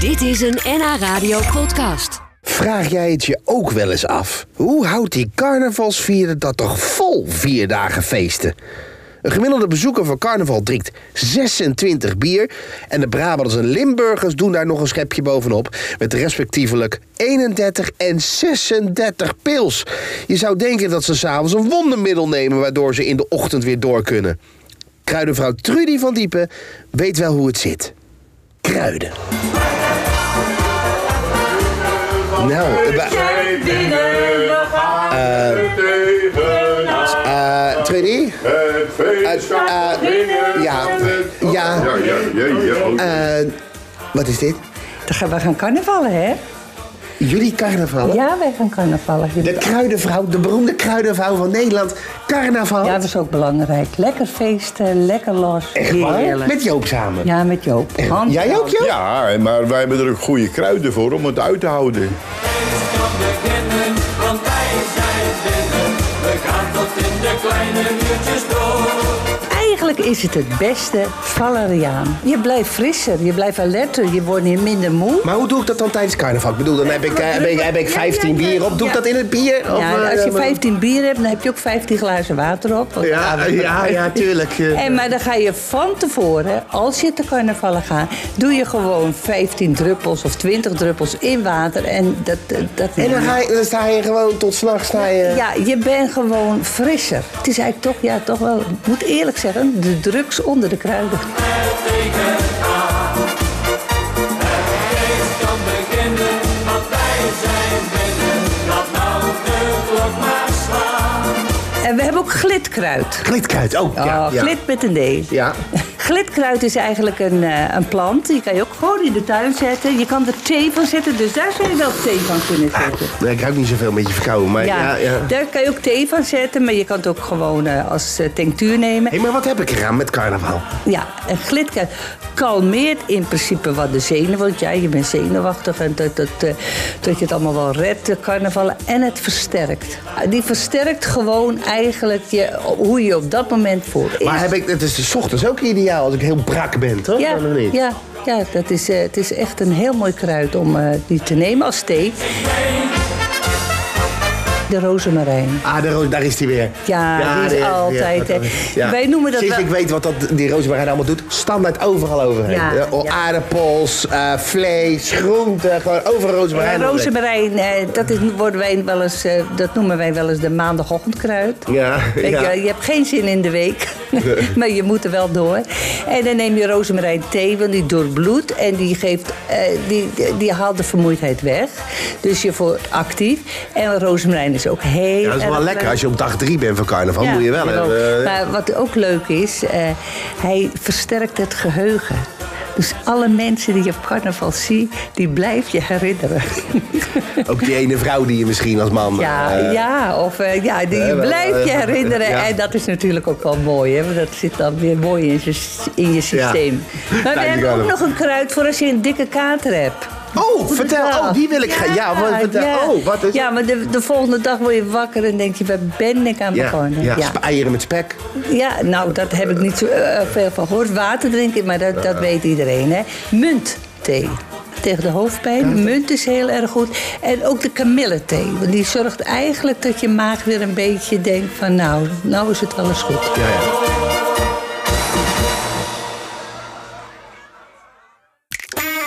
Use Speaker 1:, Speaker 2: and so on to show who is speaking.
Speaker 1: Dit is een NH Radio podcast.
Speaker 2: Vraag jij het je ook wel eens af? Hoe houdt die carnavalsvierder dat toch vol vier dagen feesten? Een gemiddelde bezoeker van carnaval drinkt 26 bier. En de Brabanders en Limburgers doen daar nog een schepje bovenop. Met respectievelijk 31 en 36 pils. Je zou denken dat ze s'avonds een wondermiddel nemen. waardoor ze in de ochtend weer door kunnen. Kruidenvrouw Trudy van Diepen weet wel hoe het zit. Kruiden. Nou, eh, ba- eh, Trudy? eh, ja, ja.
Speaker 3: Ja, ja, ja, ja.
Speaker 2: Eh, wat is dit?
Speaker 4: Dan gaan we gaan carnavallen, hè?
Speaker 2: Jullie carnaval?
Speaker 4: Ja, wij gaan carnavallen.
Speaker 2: De kruidenvrouw, de beroemde kruidenvrouw van Nederland. Carnaval.
Speaker 4: Ja, dat is ook belangrijk. Lekker feesten, lekker los.
Speaker 2: Echt waar?
Speaker 4: Heerlijk.
Speaker 2: Met Joop samen.
Speaker 4: Ja, met Joop. Hand-
Speaker 2: Jij ook, Joop?
Speaker 3: Ja, maar wij hebben er ook goede kruiden voor om het uit te houden.
Speaker 4: Eigenlijk is het het beste valeriaan. Je blijft frisser, je blijft alerter, je wordt niet minder moe.
Speaker 2: Maar hoe doe ik dat dan tijdens carnaval? Ik bedoel, dan heb ik, eh, heb ik, heb ik
Speaker 4: Ja,
Speaker 2: 15
Speaker 4: ja, ja.
Speaker 2: bier op. Doe ik
Speaker 4: Ja.
Speaker 2: dat in het bier? Of,
Speaker 4: Ja,
Speaker 2: eh,
Speaker 4: als je
Speaker 2: maar-
Speaker 4: 15 bier hebt, dan heb je ook 15 glazen water op. Want-
Speaker 2: Ja, ja, ja, tuurlijk. eh.
Speaker 4: En maar dan ga je van tevoren, als je te carnavallen gaat, doe je gewoon 15 druppels of 20 druppels in water. En dat, dat
Speaker 2: En dan, ga je, dan sta je gewoon tot s'nachts. Ja.
Speaker 4: Ja, je bent gewoon frisser. Het is eigenlijk toch, ja, toch wel, ik moet eerlijk zeggen, de drugs onder de kruiden. En we hebben ook glitkruid.
Speaker 2: Glitkruid, oh. Ja,
Speaker 4: Ja,
Speaker 2: ja.
Speaker 4: Glit met een D.
Speaker 2: Ja.
Speaker 4: Glitkruid is eigenlijk een, eh, een plant. Die kan je ook gewoon in de tuin zetten. Je kan er thee van zetten, dus daar zou je wel thee van kunnen zetten.
Speaker 2: Nee, Ik ruik niet zoveel met je verkouden, maar ja.
Speaker 4: Ja,
Speaker 2: ja,
Speaker 4: daar kan je ook thee van zetten, maar je kan het ook gewoon eh, als eh, tinctuur nemen.
Speaker 2: Hé, maar wat heb ik eraan met carnaval?
Speaker 4: Ja, en glitken kalmeert in principe wat de zenuwen. Want ja, je bent zenuwachtig en dat, dat, eh, dat je het allemaal wel redt, de carnaval. En het versterkt. Eh, Die versterkt gewoon eigenlijk je, hoe je je op dat moment voelt.
Speaker 2: Maar heb ik, het is de ochtends ook ideaal als ik heel brak ben, toch?
Speaker 4: ja,
Speaker 2: Dan of niet?
Speaker 4: ja, ja dat is, eh, het is echt een heel mooi kruid om eh, die te nemen als thee. De rozemarijn.
Speaker 2: Ah, daar, daar is hij weer.
Speaker 4: Ja, die is
Speaker 2: daar hij
Speaker 4: altijd,
Speaker 2: Ja,
Speaker 4: hè.
Speaker 2: ja.
Speaker 4: Wij noemen dat
Speaker 2: Sinds
Speaker 4: wel-
Speaker 2: ik weet wat dat, die rozemarijn nou allemaal doet, standaard overal overheen.
Speaker 4: Ja,
Speaker 2: Eh, oh,
Speaker 4: ja.
Speaker 2: Aardappels, eh, vlees, groenten, gewoon overal rozemarijn.
Speaker 4: Ja,
Speaker 2: overheen.
Speaker 4: rozemarijn, eh, dat, is, worden wij wel eens, eh, dat noemen wij wel eens de maandagochtendkruid.
Speaker 2: Ja,
Speaker 4: Weet
Speaker 2: ja.
Speaker 4: Je, je hebt geen zin in de week, maar je moet er wel door. En dan neem je rozemarijn thee, want die doorbloedt en die, geeft, eh, die, die, die haalt de vermoeidheid weg. Dus je wordt actief. En rozemarijn is ook heel
Speaker 2: Ja, dat is wel
Speaker 4: erg
Speaker 2: lekker.
Speaker 4: leuk.
Speaker 2: Als je op dag drie bent van carnaval,
Speaker 4: Ja,
Speaker 2: Oh, moet je wel
Speaker 4: jawel.
Speaker 2: hebben. eh,
Speaker 4: Maar wat ook leuk is, eh, hij versterkt het geheugen. Dus alle mensen die je op carnaval ziet, die blijf je herinneren.
Speaker 2: Ook die ene vrouw die je misschien als man...
Speaker 4: Ja,
Speaker 2: eh,
Speaker 4: ja, of eh, ja, die
Speaker 2: eh, wel,
Speaker 4: blijf je
Speaker 2: eh,
Speaker 4: herinneren.
Speaker 2: ja.
Speaker 4: En dat is natuurlijk ook wel mooi, hè? Want dat zit dan weer mooi in, je- in je systeem. Maar we
Speaker 2: Dank je
Speaker 4: hebben
Speaker 2: wel.
Speaker 4: ook nog een kruid voor als je een dikke kater hebt.
Speaker 2: Oh, vertel.
Speaker 4: Ja.
Speaker 2: Oh, die wil ik gaan. Ja, wat, vertel.
Speaker 4: ja.
Speaker 2: Oh, wat is
Speaker 4: Ja, maar de, de volgende dag word je wakker en denk je, waar ben ik aan
Speaker 2: Ja,
Speaker 4: begonnen?
Speaker 2: ja.
Speaker 4: Ja.
Speaker 2: sp- eieren met spek.
Speaker 4: Ja, nou, dat heb ik niet zo eh, veel van gehoord. Water drinken, maar dat, dat weet iedereen, hè. Muntthee. Tegen de hoofdpijn. Munt is heel erg goed. En ook de kamillethee. Want die zorgt eigenlijk dat je maag weer een beetje denkt van... nou, nou is het wel eens goed.
Speaker 2: Ja, ja.